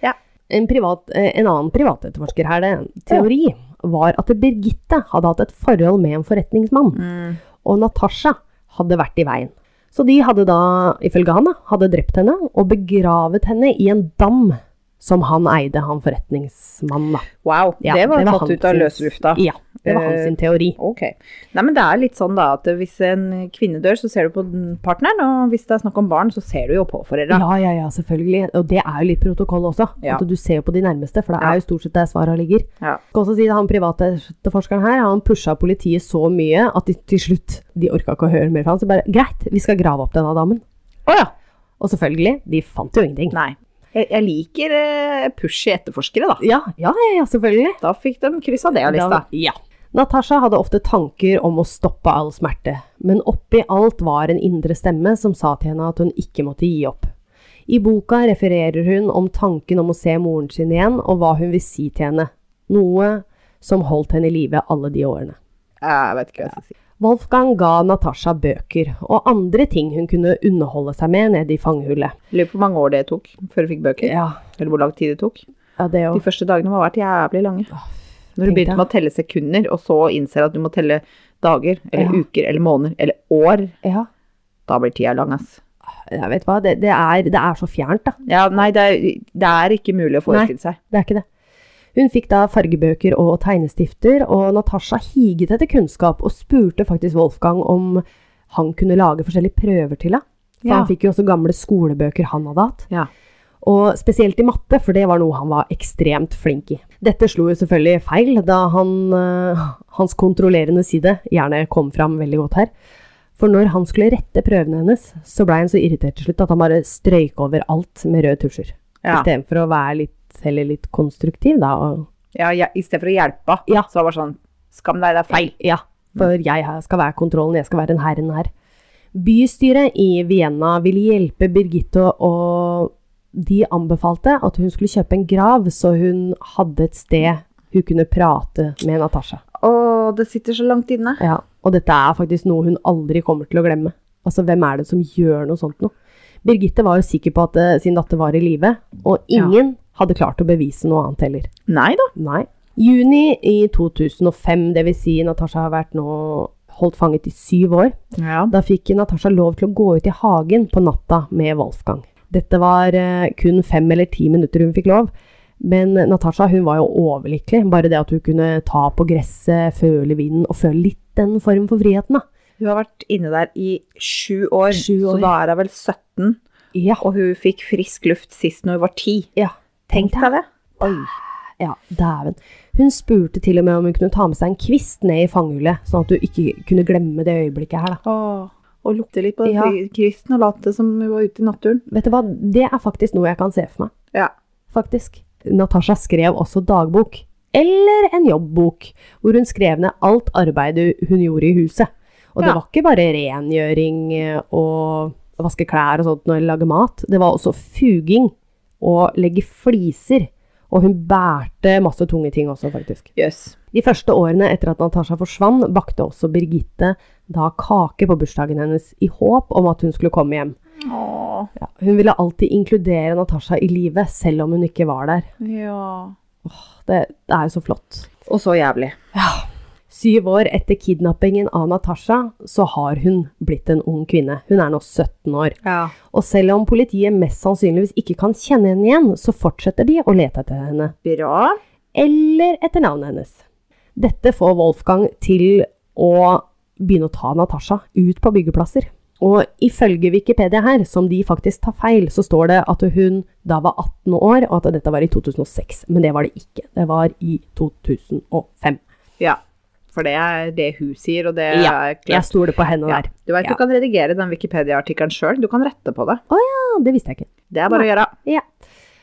Ja. En, privat, eh, en annen privatetterforsker her, det er en teori, var at Birgitte hadde hatt et forhold med en forretningsmann, Mm. og Natasha hadde vært i veien. Så de hadde da, ifølge han, da, hadde drept henne og begravet henne i en dam som han eide, han forretningsmannen. da. Wow, Ja, det var tatt hans ut av sin- løs lufta. Ja, det var hans Eh, sin teori. Ok. Nei, men det er litt sånn da at hvis en kvinne dør, så ser du på den partneren, og hvis det er snakk om barn, så ser du jo på foreldra. Ja, ja, ja, selvfølgelig. Og det er jo litt protokoll også. Ja. At du ser jo på de nærmeste, for det Ja. er jo stort sett der svarene ligger. Ja. Skal også si at Han private etterforskeren her han pusha politiet så mye at de til slutt de orka ikke å høre mer fra han, så bare Greit, vi skal grave opp denne damen. Å ja. Og selvfølgelig, de fant jo ingenting. Nei. Jeg, jeg liker eh, pushy etterforskere, da. Ja, ja, ja, ja, selvfølgelig. Da fikk de kryssa det av lista. Da- ja. Natasha hadde ofte tanker om å stoppe all smerte, men oppi alt var en indre stemme som sa til henne at hun ikke måtte gi opp. I boka refererer hun om tanken om å se moren sin igjen, og hva hun vil si til henne, noe som holdt henne i live alle de årene. Jeg vet ikke hva jeg skal si. Wolfgang ga Natasha bøker og andre ting hun kunne underholde seg med nede i fangehullet. Lurer på hvor mange år det tok før du fikk bøker. Ja, Eller hvor lang tid det tok. ja det De òg. første dagene må ha vært jævlig lange. Når du tenkte begynte med å telle sekunder, og så innser at du må telle dager, eller Ja. uker, eller måneder, eller år, Ja, da blir tida lang, ass. jeg vet hva, det, det, er, det er så fjernt, da. Ja, nei, det er, det er ikke mulig å forestille seg. Det er ikke det. Hun fikk da fargebøker og tegnestifter, og Natasha higet etter kunnskap og spurte faktisk Wolfgang om han kunne lage forskjellige prøver til henne. For Ja. Han fikk jo også gamle skolebøker han hadde hatt. Ja. Og spesielt i matte, for det var noe han var ekstremt flink i. Dette slo jo selvfølgelig feil, da han, eh, hans kontrollerende side gjerne kom fram veldig godt her. For når han skulle rette prøvene hennes, så ble han så irritert til slutt at han bare strøyk over alt med røde tusjer. Ja. Istedenfor å være litt, heller litt konstruktiv, da. Og, Ja, ja, I stedet for å hjelpe, Ja. så var det bare sånn Skam deg, det er feil. ja, for jeg her skal være kontrollen, jeg skal være en herren her. Bystyret i Vienna ville hjelpe Birgitte, og de anbefalte at hun skulle kjøpe en grav, så hun hadde et sted hun kunne prate med Natasha. Å, det sitter så langt inne. Ja, og dette er faktisk noe hun aldri kommer til å glemme. Altså, hvem er det som gjør noe sånt nå? Birgitte var jo sikker på at eh, sin datter var i live, og Ja. ingen hadde klart å bevise noe annet heller. Nei da. Nei. Juni i 2005, dvs. Si Natasha har vært nå holdt fanget i syv år, Ja. da fikk Natasha lov til å gå ut i hagen på natta med Wolfgang. Dette var eh, kun fem eller ti minutter hun fikk lov, men Natasha hun var jo overlykkelig. Bare det at hun kunne ta på gresset, føle vinden og føle litt den form for friheten, da. Hun har vært inne der i sju år, Sju år. så da er hun vel 17. Ja. Og hun fikk frisk luft sist når hun var 10. ja. Tenk deg det. Oi. Ja, dæven. Hun spurte til og med om hun kunne ta med seg en kvist ned i fangehullet, sånn at du ikke kunne glemme det øyeblikket her, da. Åh, og lukte litt på den Ja. fri- kristen og late som hun var ute i naturen. Vet du hva, det er faktisk noe jeg kan se for meg. Ja. faktisk. Natasha skrev også dagbok, eller en jobbbok, hvor hun skrev ned alt arbeidet hun gjorde i huset. Og det Ja. var ikke bare rengjøring eh, og vaske klær og sånt når hun lage mat, det var også fuging og legge fliser. Og hun bærte masse tunge ting også, faktisk. Jøss. De første årene etter at Natasha forsvann, bakte også Birgitte da kake på bursdagen hennes i håp om at hun skulle komme hjem. Åh, Ja, hun ville alltid inkludere Natasha i livet, selv om hun ikke var der. ja. Det, det er jo så flott. Og så jævlig. Syv år etter kidnappingen av Natasha, så har hun blitt en ung kvinne. Hun er nå 17 år. Ja. Og selv om politiet mest sannsynligvis ikke kan kjenne henne igjen, så fortsetter de å lete etter henne. Bra. Eller etter navnet hennes. Dette får Wolfgang til å begynne å ta Natasha ut på byggeplasser. Og ifølge Wikipedia her, som de faktisk tar feil, så står det at hun da var 18 år, og at dette var i 2006. Men det var det ikke. Det var i 2005. Ja. For det er det hun sier, og det Ja, er Jeg klart. stoler på henne Ja. der. Du vet Ja. du kan redigere den Wikipedia-artikkelen sjøl. Du kan rette på det. Ja, det visste jeg ikke. Det er bare å gjøre. Ja.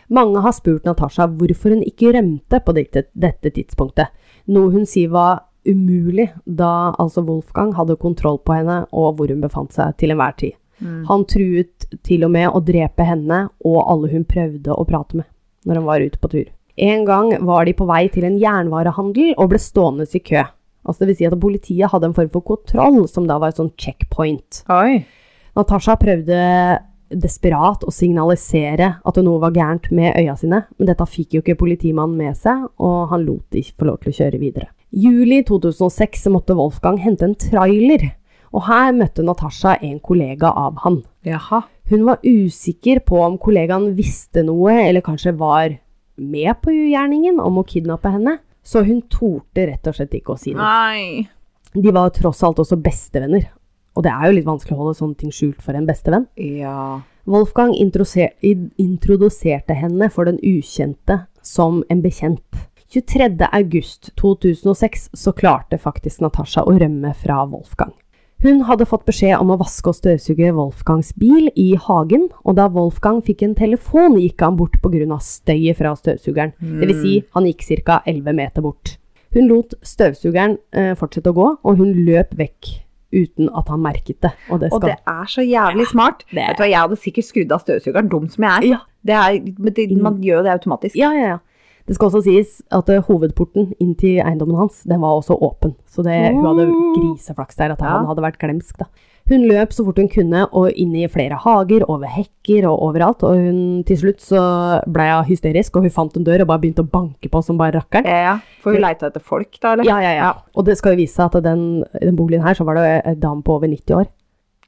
Mange har spurt Natasha hvorfor hun ikke rømte på dette, dette tidspunktet, noe hun sier var umulig da altså Wolfgang hadde kontroll på henne og hvor hun befant seg til enhver tid. Han truet til og med å drepe henne og alle hun prøvde å prate med når han var ute på tur. En gang var de på vei til en jernvarehandel og ble stående i kø. Altså det vil si at politiet hadde en form for kontroll, som da var et sånn checkpoint. Oi. Natasha prøvde desperat å signalisere at noe var gærent med øya sine, men dette fikk jo ikke politimannen med seg, og han lot de få lov til å kjøre videre. Juli 2006 måtte Wolfgang hente en trailer, og her møtte Natasha en kollega av han. Jaha. Hun var usikker på om kollegaen visste noe, eller kanskje var med på ugjerningen om å kidnappe henne, så hun torde rett og slett ikke å si noe. Nei. De var tross alt også bestevenner, og det er jo litt vanskelig å holde sånne ting skjult for en bestevenn. Ja. Wolfgang introduser- in- introduserte henne for den ukjente som en bekjent. 23. august 2006 så klarte faktisk Natasha å rømme fra Wolfgang. Hun hadde fått beskjed om å vaske og støvsuge Wolfgangs bil i hagen, og da Wolfgang fikk en telefon, gikk han bort pga. støyet fra støvsugeren. Det vil si, han gikk ca. 11 meter bort. Hun lot støvsugeren eh, fortsette å gå, og hun løp vekk uten at han merket det. Og det Og skal det er så jævlig smart. det- Vet du hva, Jeg hadde sikkert skrudd av støvsugeren, dum som jeg er. Ja. Det er men det, man gjør jo det automatisk. Ja, ja, ja. Det skal også sies at eh, hovedporten inn til eiendommen hans, den var også åpen. Så det, hun hadde griseflaks der, at Ja. han hadde vært glemsk, da. Hun løp så fort hun kunne, og inn i flere hager, over hekker og overalt. Og hun, til slutt så ble hun hysterisk, og hun fant en dør og bare begynte å banke på som bare rakkeren. Ja, ja. For hun leita etter folk, da, eller? Ja, ja, ja. Og det skal jo vise seg at den, i den boligen her, så var det en dame på over 90 år.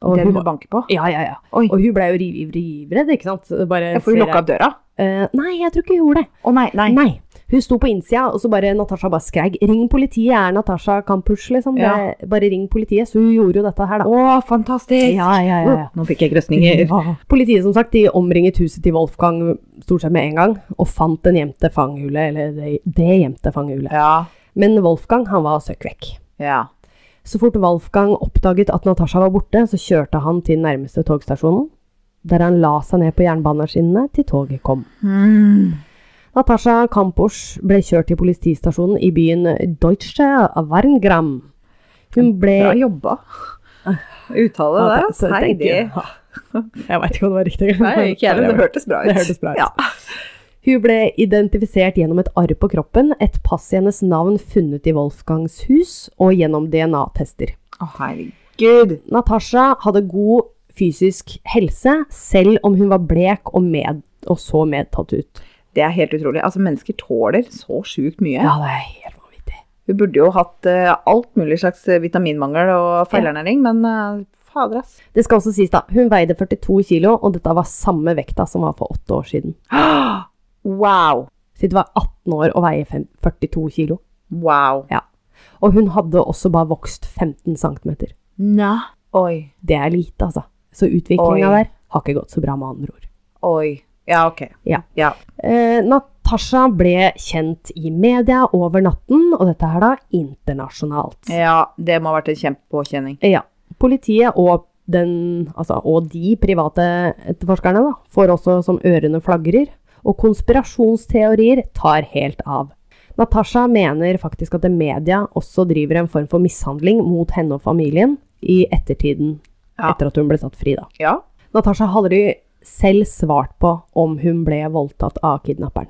Og Den hun, hun banker på? ja, ja, ja. Oi. Og hun ble jo riv- rivredd, ikke sant? Bare Ja, for hun ser lukka opp døra? jeg- Eh, nei, jeg tror ikke hun gjorde det. Å nei, nei. Nei. Hun sto på innsida, og så bare Natasha bare skreik 'Ring politiet, er Natasha Kampusch', liksom. Ja. Det, bare ring politiet. Så hun gjorde jo dette her, da. Å, fantastisk! Ja, ja, ja. ja. Nå fikk jeg grøsninger. Ja. Politiet som sagt, de omringet huset til Wolfgang stort sett med en gang, og fant den gjemte fanghule, eller det, det gjemte fanghule. Ja. Men Wolfgang, han var søkk vekk. ja. Så fort Wolfgang oppdaget at Natasha var borte, så kjørte han til nærmeste togstasjonen, der han la seg ned på jernbaneskinnene til toget kom. Mm. Natasha Kampusch ble kjørt til politistasjonen i byen Deutsche Werngram. Hun ble Bra jobba. Uttale Ja, der, te- altså. te- Heidi. tenker- Ja. Jeg veit ikke om det var riktig. Nei, ikke jeg, men det hørtes bra ut. Det hørtes bra ut. Ja. Hun ble identifisert gjennom et arr på kroppen, et pass i hennes navn funnet i Wolfgangs hus, og gjennom DNA-tester. Å, herregud. Natasha hadde god fysisk helse, selv om hun var blek og, med, og så medtatt ut. Det er helt utrolig. Altså, mennesker tåler så sjukt mye. Ja, det er helt vanvittig. Hun burde jo hatt eh, alt mulig slags eh, vitaminmangel og feilernæring, men eh, fader, ass. Det skal også sies, da. Hun veide 42 kilo, og dette var samme vekta som var for åtte år siden. Wow. Så det var 18 år og veie fem- 42 kilo. Wow. Ja. Og hun hadde også bare vokst 15 cm. Nå. Oi. Det er lite, altså. Så Oi. utviklinga der har ikke gått så bra, med andre ord. Oi. Ja, ok. Ja. Ja. Eh, Natasha ble kjent i media over natten, og dette her da internasjonalt. ja det må ha vært en kjempepåkjenning. Ja. Politiet og, den, altså, og de private etterforskerne da, får også som ørene flagrer, og konspirasjonsteorier tar helt av. Natasha mener faktisk at media også driver en form for mishandling mot henne og familien i ettertiden, Ja. etter at hun ble satt fri. Da. Ja. Natasha har aldri selv svart på om hun ble voldtatt av kidnapperen.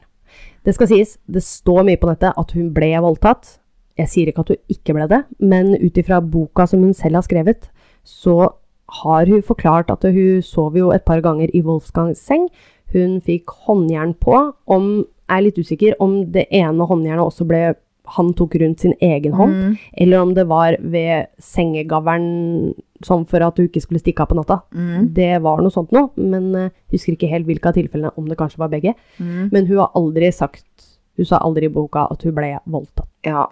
Det skal sies, det står mye på nettet at hun ble voldtatt. Jeg sier ikke at hun ikke ble det, men ut ifra boka som hun selv har skrevet, så har hun forklart at hun sov jo et par ganger i Wolfgangs seng. Hun fikk håndjern på, om, er litt usikker om det ene håndjernet også ble han tok rundt sin egen hånd, eller om det var ved sengegavlen, sånn for at hun ikke skulle stikke av på natta. Mm. Det var noe sånt nå, men eh, husker ikke helt hvilke av tilfellene, om det kanskje var begge. Mm. Men hun har aldri sagt, hun sa aldri i boka at hun ble voldtatt. Ja.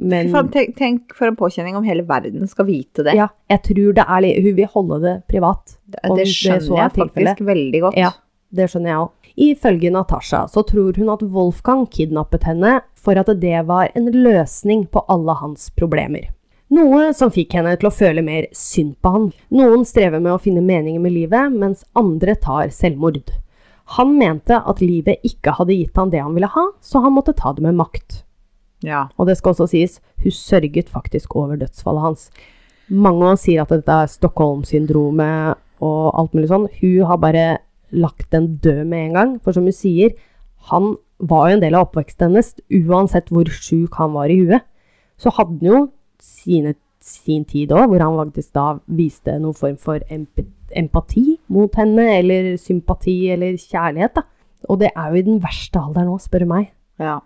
Men Faen, tenk, tenk for en påkjenning om hele verden skal vite det. ja, jeg tror det er litt, hun vil holde det privat. det, om det så skjønner er jeg tilfellet. faktisk veldig godt. Ja, det skjønner jeg òg. Ifølge Natasha så tror hun at Wolfgang kidnappet henne for at det var en løsning på alle hans problemer. Noe som fikk henne til å føle mer synd på han. Noen strever med å finne meningen med livet, mens andre tar selvmord. Han mente at livet ikke hadde gitt han det han ville ha, så han måtte ta det med makt. Ja. Og det skal også sies, hun sørget faktisk over dødsfallet hans. Mange sier at dette er Stockholm-syndromet og alt mulig sånn. Hun har bare lagt den død med en gang, for som hun sier, han var jo en del av oppveksten hennes, uansett hvor sjuk han var i huet. Så hadde han jo sine, sin tid òg, hvor han faktisk da viste noen form for emp empati mot henne, eller sympati, eller kjærlighet, da. Og det er jo i den verste alderen nå, spør du meg. ja.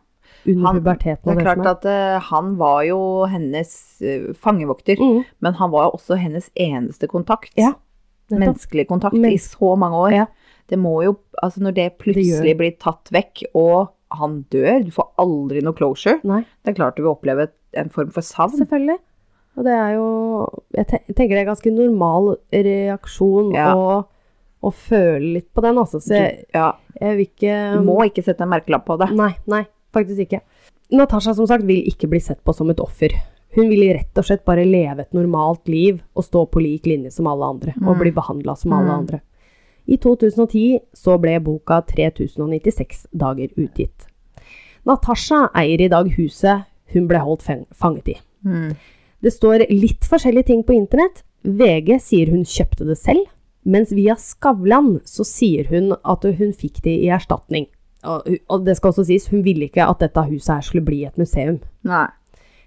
Under Han- puberteten og Det er det, klart som er. at eh, han var jo hennes eh, fangevokter, Mm. men han var jo også hennes eneste kontakt. Ja, nettopp. Menneskelig kontakt Men- i så mange år. Ja. Det må jo, altså når det plutselig Det blir tatt vekk, og han dør, du får aldri noe closure, Nei. det er klart du vil oppleve et- en form for savn. Selvfølgelig. Og det er jo Jeg te- tenker det er ganske normal reaksjon Ja. å, å føle litt på den, altså. Så jeg, Ja, jeg vil ikke du må ikke sette en merkelapp på det. Nei, nei, faktisk ikke. Natasha som sagt vil ikke bli sett på som et offer. Hun vil rett og slett bare leve et normalt liv og stå på lik linje som alle andre, og bli behandla som alle Mm. andre. I 2010 så ble boka 3096 dager utgitt. Natasha eier i dag huset hun ble holdt feng- fanget i. Mm. Det står litt forskjellige ting på internett. VG sier hun kjøpte det selv, mens via Skavlan så sier hun at hun fikk det i erstatning. Og, og det skal også sies, hun ville ikke at dette huset her skulle bli et museum. Nei.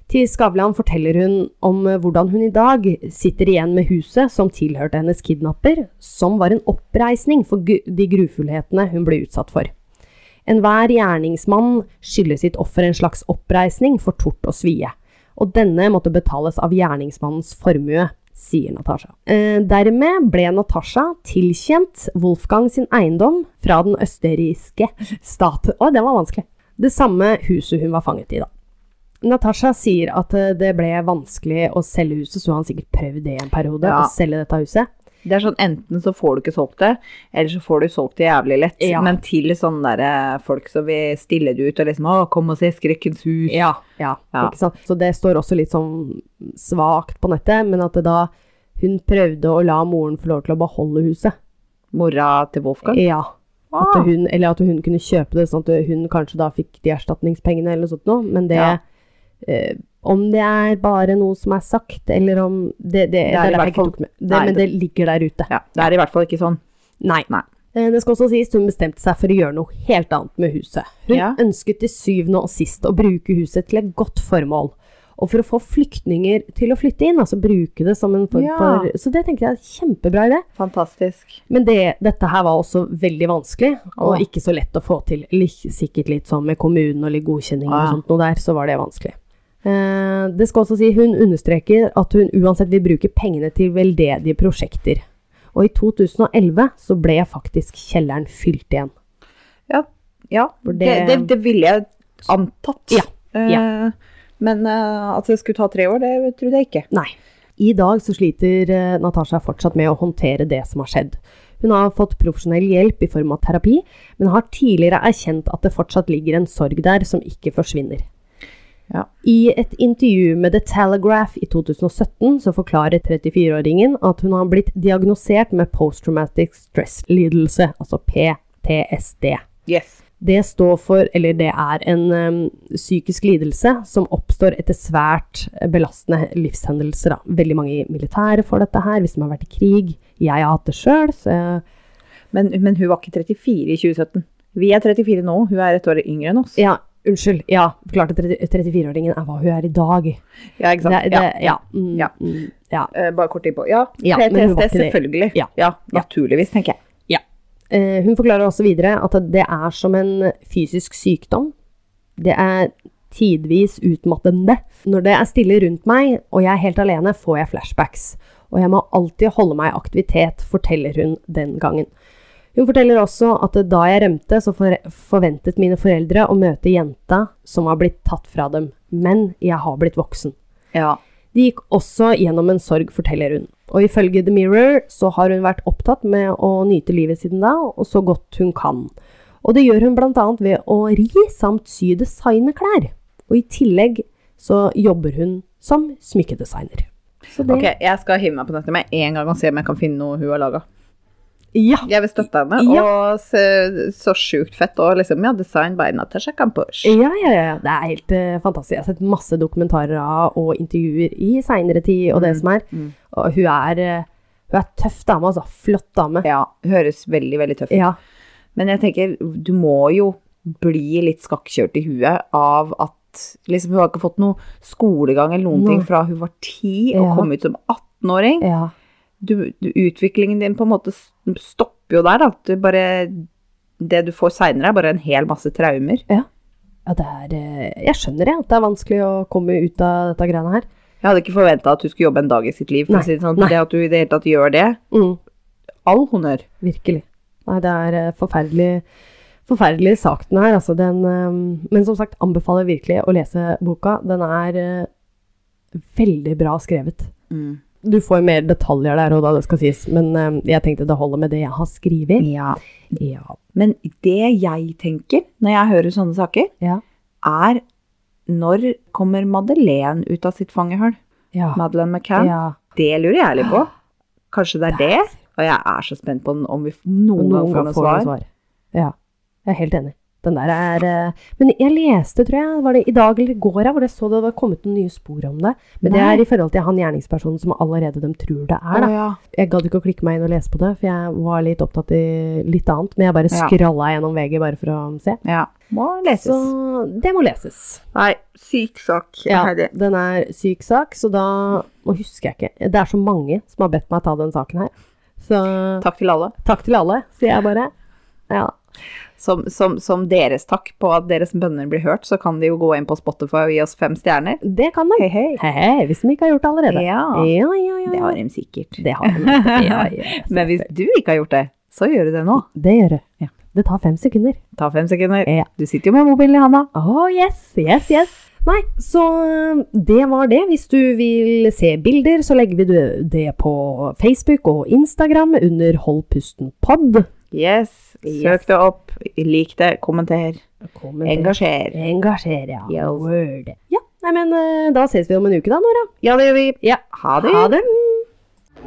Til Skavlan forteller hun om eh, hvordan hun i dag sitter igjen med huset som tilhørte hennes kidnapper, som var en oppreisning for gu- de grufullhetene hun ble utsatt for. Enhver gjerningsmann skylder sitt offer en slags oppreisning for tort og svie, og denne måtte betales av gjerningsmannens formue, sier Natasha. Eh, dermed ble Natasha tilkjent Wolfgang sin eiendom fra den østerrikske stat. Å, den var vanskelig. Det samme huset hun var fanget i, da. Natasha sier at eh, det ble vanskelig å selge huset, så han sikkert prøvd det i en periode, Ja. å selge dette huset. Det er sånn, Enten så får du ikke solgt det, eller så får du solgt det jævlig lett. Ja. Men til sånne der, eh, folk som vil stille det ut og liksom 'Å, kom og se Skrekkens hus'. Ja, ja, Ja. ikke sant? Så det står også litt sånn svagt på nettet, men at det da hun prøvde å la moren få lov til å beholde huset. Mora til Wolfgang. Ja. At Ah. hun, eller at hun kunne kjøpe det, sånn at hun kanskje da fikk de erstatningspengene eller noe sånt noe, men det Ja. eh, om det er bare noe som er sagt, eller om Det, det, det i er derfor hvert jeg fall- ikke tok med. Det, Nei, men det det- ligger der ute. Ja, Det er i hvert fall ikke sånn. Nei. Nei. Eh, Det skal også sies hun bestemte seg for å gjøre noe helt annet med huset. Hun Ja. ønsket til syvende og sist å bruke huset til et godt formål. Og for å få flyktninger til å flytte inn, altså bruke det som en form Ja. for Så det tenker jeg er en kjempebra idé. Fantastisk. Men det, dette her var også veldig vanskelig, og Åh. ikke så lett å få til. Lik- Sikkert litt sånn med kommunen og litt godkjenning Ah, ja. og sånt noe der, så var det vanskelig. Eh, det skal også si hun understreker at hun uansett vil bruke pengene til veldedige prosjekter. Og i 2011 så ble faktisk kjelleren fylt igjen. Ja, ja. For Det, det, det- det, ville jeg antatt. Ja, Eh, Men eh, at det skulle ta tre år, det trodde jeg ikke. Nei. I dag så sliter eh, Natasha fortsatt med å håndtere det som har skjedd. Hun har fått profesjonell hjelp i form av terapi, men har tidligere erkjent at det fortsatt ligger en sorg der som ikke forsvinner. Ja. I et intervju med The Telegraph i 2017 så forklarer 34-åringen at hun har blitt diagnosert med posttraumatic stress-lidelse, altså PTSD. Yes. Det står for, eller det er en øhm, psykisk lidelse som oppstår etter svært belastende livshendelser. Da. Veldig mange i militæret får dette her, hvis de har vært i krig. Jeg har hatt det sjøl, så jeg, Men, men hun var ikke 34 i 2017. Vi er 34 nå, hun er et år yngre enn oss. ja, unnskyld. Ja, klart at 30 34-åringen er hva hun er i dag. Ja, ikke sant? Det- det- ja. Mm, Ja. mm, ja. Eh, bare kort innpå. Ja, Ja, men hun var PTSD, ikke det. selvfølgelig. Ja. naturligvis, tenker jeg. Eh, hun forklarer også videre at det er som en fysisk sykdom. Det er tidvis utmattende. Når det er stille rundt meg, og jeg er helt alene, får jeg flashbacks. Og jeg må alltid holde meg i aktivitet, forteller hun den gangen. Hun forteller også at da jeg rømte, så for forventet mine foreldre å møte jenta som har blitt tatt fra dem. Men jeg har blitt voksen. Ja. De gikk også gjennom en sorg, forteller hun. Og ifølge The Mirror så har hun vært opptatt med å nyte livet siden da, og så godt hun kan. Og det gjør hun bl.a. ved å ri samt sy designerklær. Og i tillegg så jobber hun som smykkedesigner. Så det Ok, jeg skal hive meg på nettet med en gang og se om jeg kan finne noe hun har laga. Ja! Jeg vil støtte henne. Ja. Og se, så sjukt fett. Og liksom, ja, design by Natasha Kampush. Ja, ja, ja. Det er helt eh, fantastisk. Jeg har sett masse dokumentarer av og intervjuer i seinere tid og det som er. Og hun er, eh, hun er tøff dame, altså. Flott dame. Ja, høres veldig, veldig tøff ut. Ja. Men jeg tenker, du må jo bli litt skakkjørt i huet av at liksom, hun har ikke fått noe skolegang eller noen Nei. ting fra hun var ti og Ja. kom ut som 18-åring. ja. du, du, utviklingen din på en måte s- stopper jo der. Da. at Du bare, det du får seinere, er bare en hel masse traumer. Ja, det er eh, Jeg skjønner jeg, at det er vanskelig å komme ut av dette greiene her. Jeg hadde ikke forventa at du skulle jobbe en dag i sitt liv. For Nei, å si det, sånn. nei. det at du i det hele tatt gjør det, Mm, all honnør. virkelig. Nei, det er eh, forferdelig forferdelig sak den her, altså. Den eh, Men som sagt, anbefaler virkelig å lese boka. Den er eh, veldig bra skrevet. Du får mer detaljer der og da, det skal sies, men eh, jeg tenkte det holder med det jeg har skrevet. Ja. Ja. Men det jeg tenker når jeg hører sånne saker, Ja. er når kommer Madeleine ut av sitt fangehull? Ja. Madeleine McCann? ja. Det lurer jeg litt på. Kanskje det er det? Og jeg er så spent på den, om vi f- Og noen gang noen får gang noe får du svar. svar. Ja. Jeg er helt enig. Den der er eh, Men jeg leste, tror jeg, var det i dag eller i går, jeg, hvor jeg så det var kommet noen nye spor om det. Men det Nei. er i forhold til han gjerningspersonen som allerede de tror det er, da. Å, ja. Jeg gadd ikke å klikke meg inn og lese på det, for jeg var litt opptatt i litt annet. Men jeg bare Ja. skralla gjennom VG bare for å se. ja. Må leses. Så det må leses. Nei, syk sak. Ja, Herlig. den er syk sak, så da Nå husker jeg ikke. Det er så mange som har bedt meg ta den saken her. Så Takk til alle. takk til alle, sier jeg bare. Ja. Som, som, som deres takk på at deres bønner blir hørt, så kan de jo gå inn på Spotify og gi oss fem stjerner. Det kan man. Hei, hei. Hei, hei, hvis de ikke har gjort det allerede. Ja, ja, ja. ja, det ja. har de sikkert. Det har de. Ja, ja. Men hvis du ikke har gjort det, så gjør du det nå. Det gjør det. Ja. Det tar fem sekunder. Ta fem sekunder. Ja. Du sitter jo med mobilen i handa. Oh, yes, yes, yes. Nei, så ø, det var det. Hvis du vil se bilder, så legger vi det- det på Facebook og Instagram under Hold pusten pod. Yes. Yes. Søk det opp. Lik det. Kommenter. Engasjer. Engasjer, ja. Yes. Word. Ja, nei, men ø, da ses vi om en uke da, Nora. Ja, det gjør vi. Ja. Ha det. Ha det.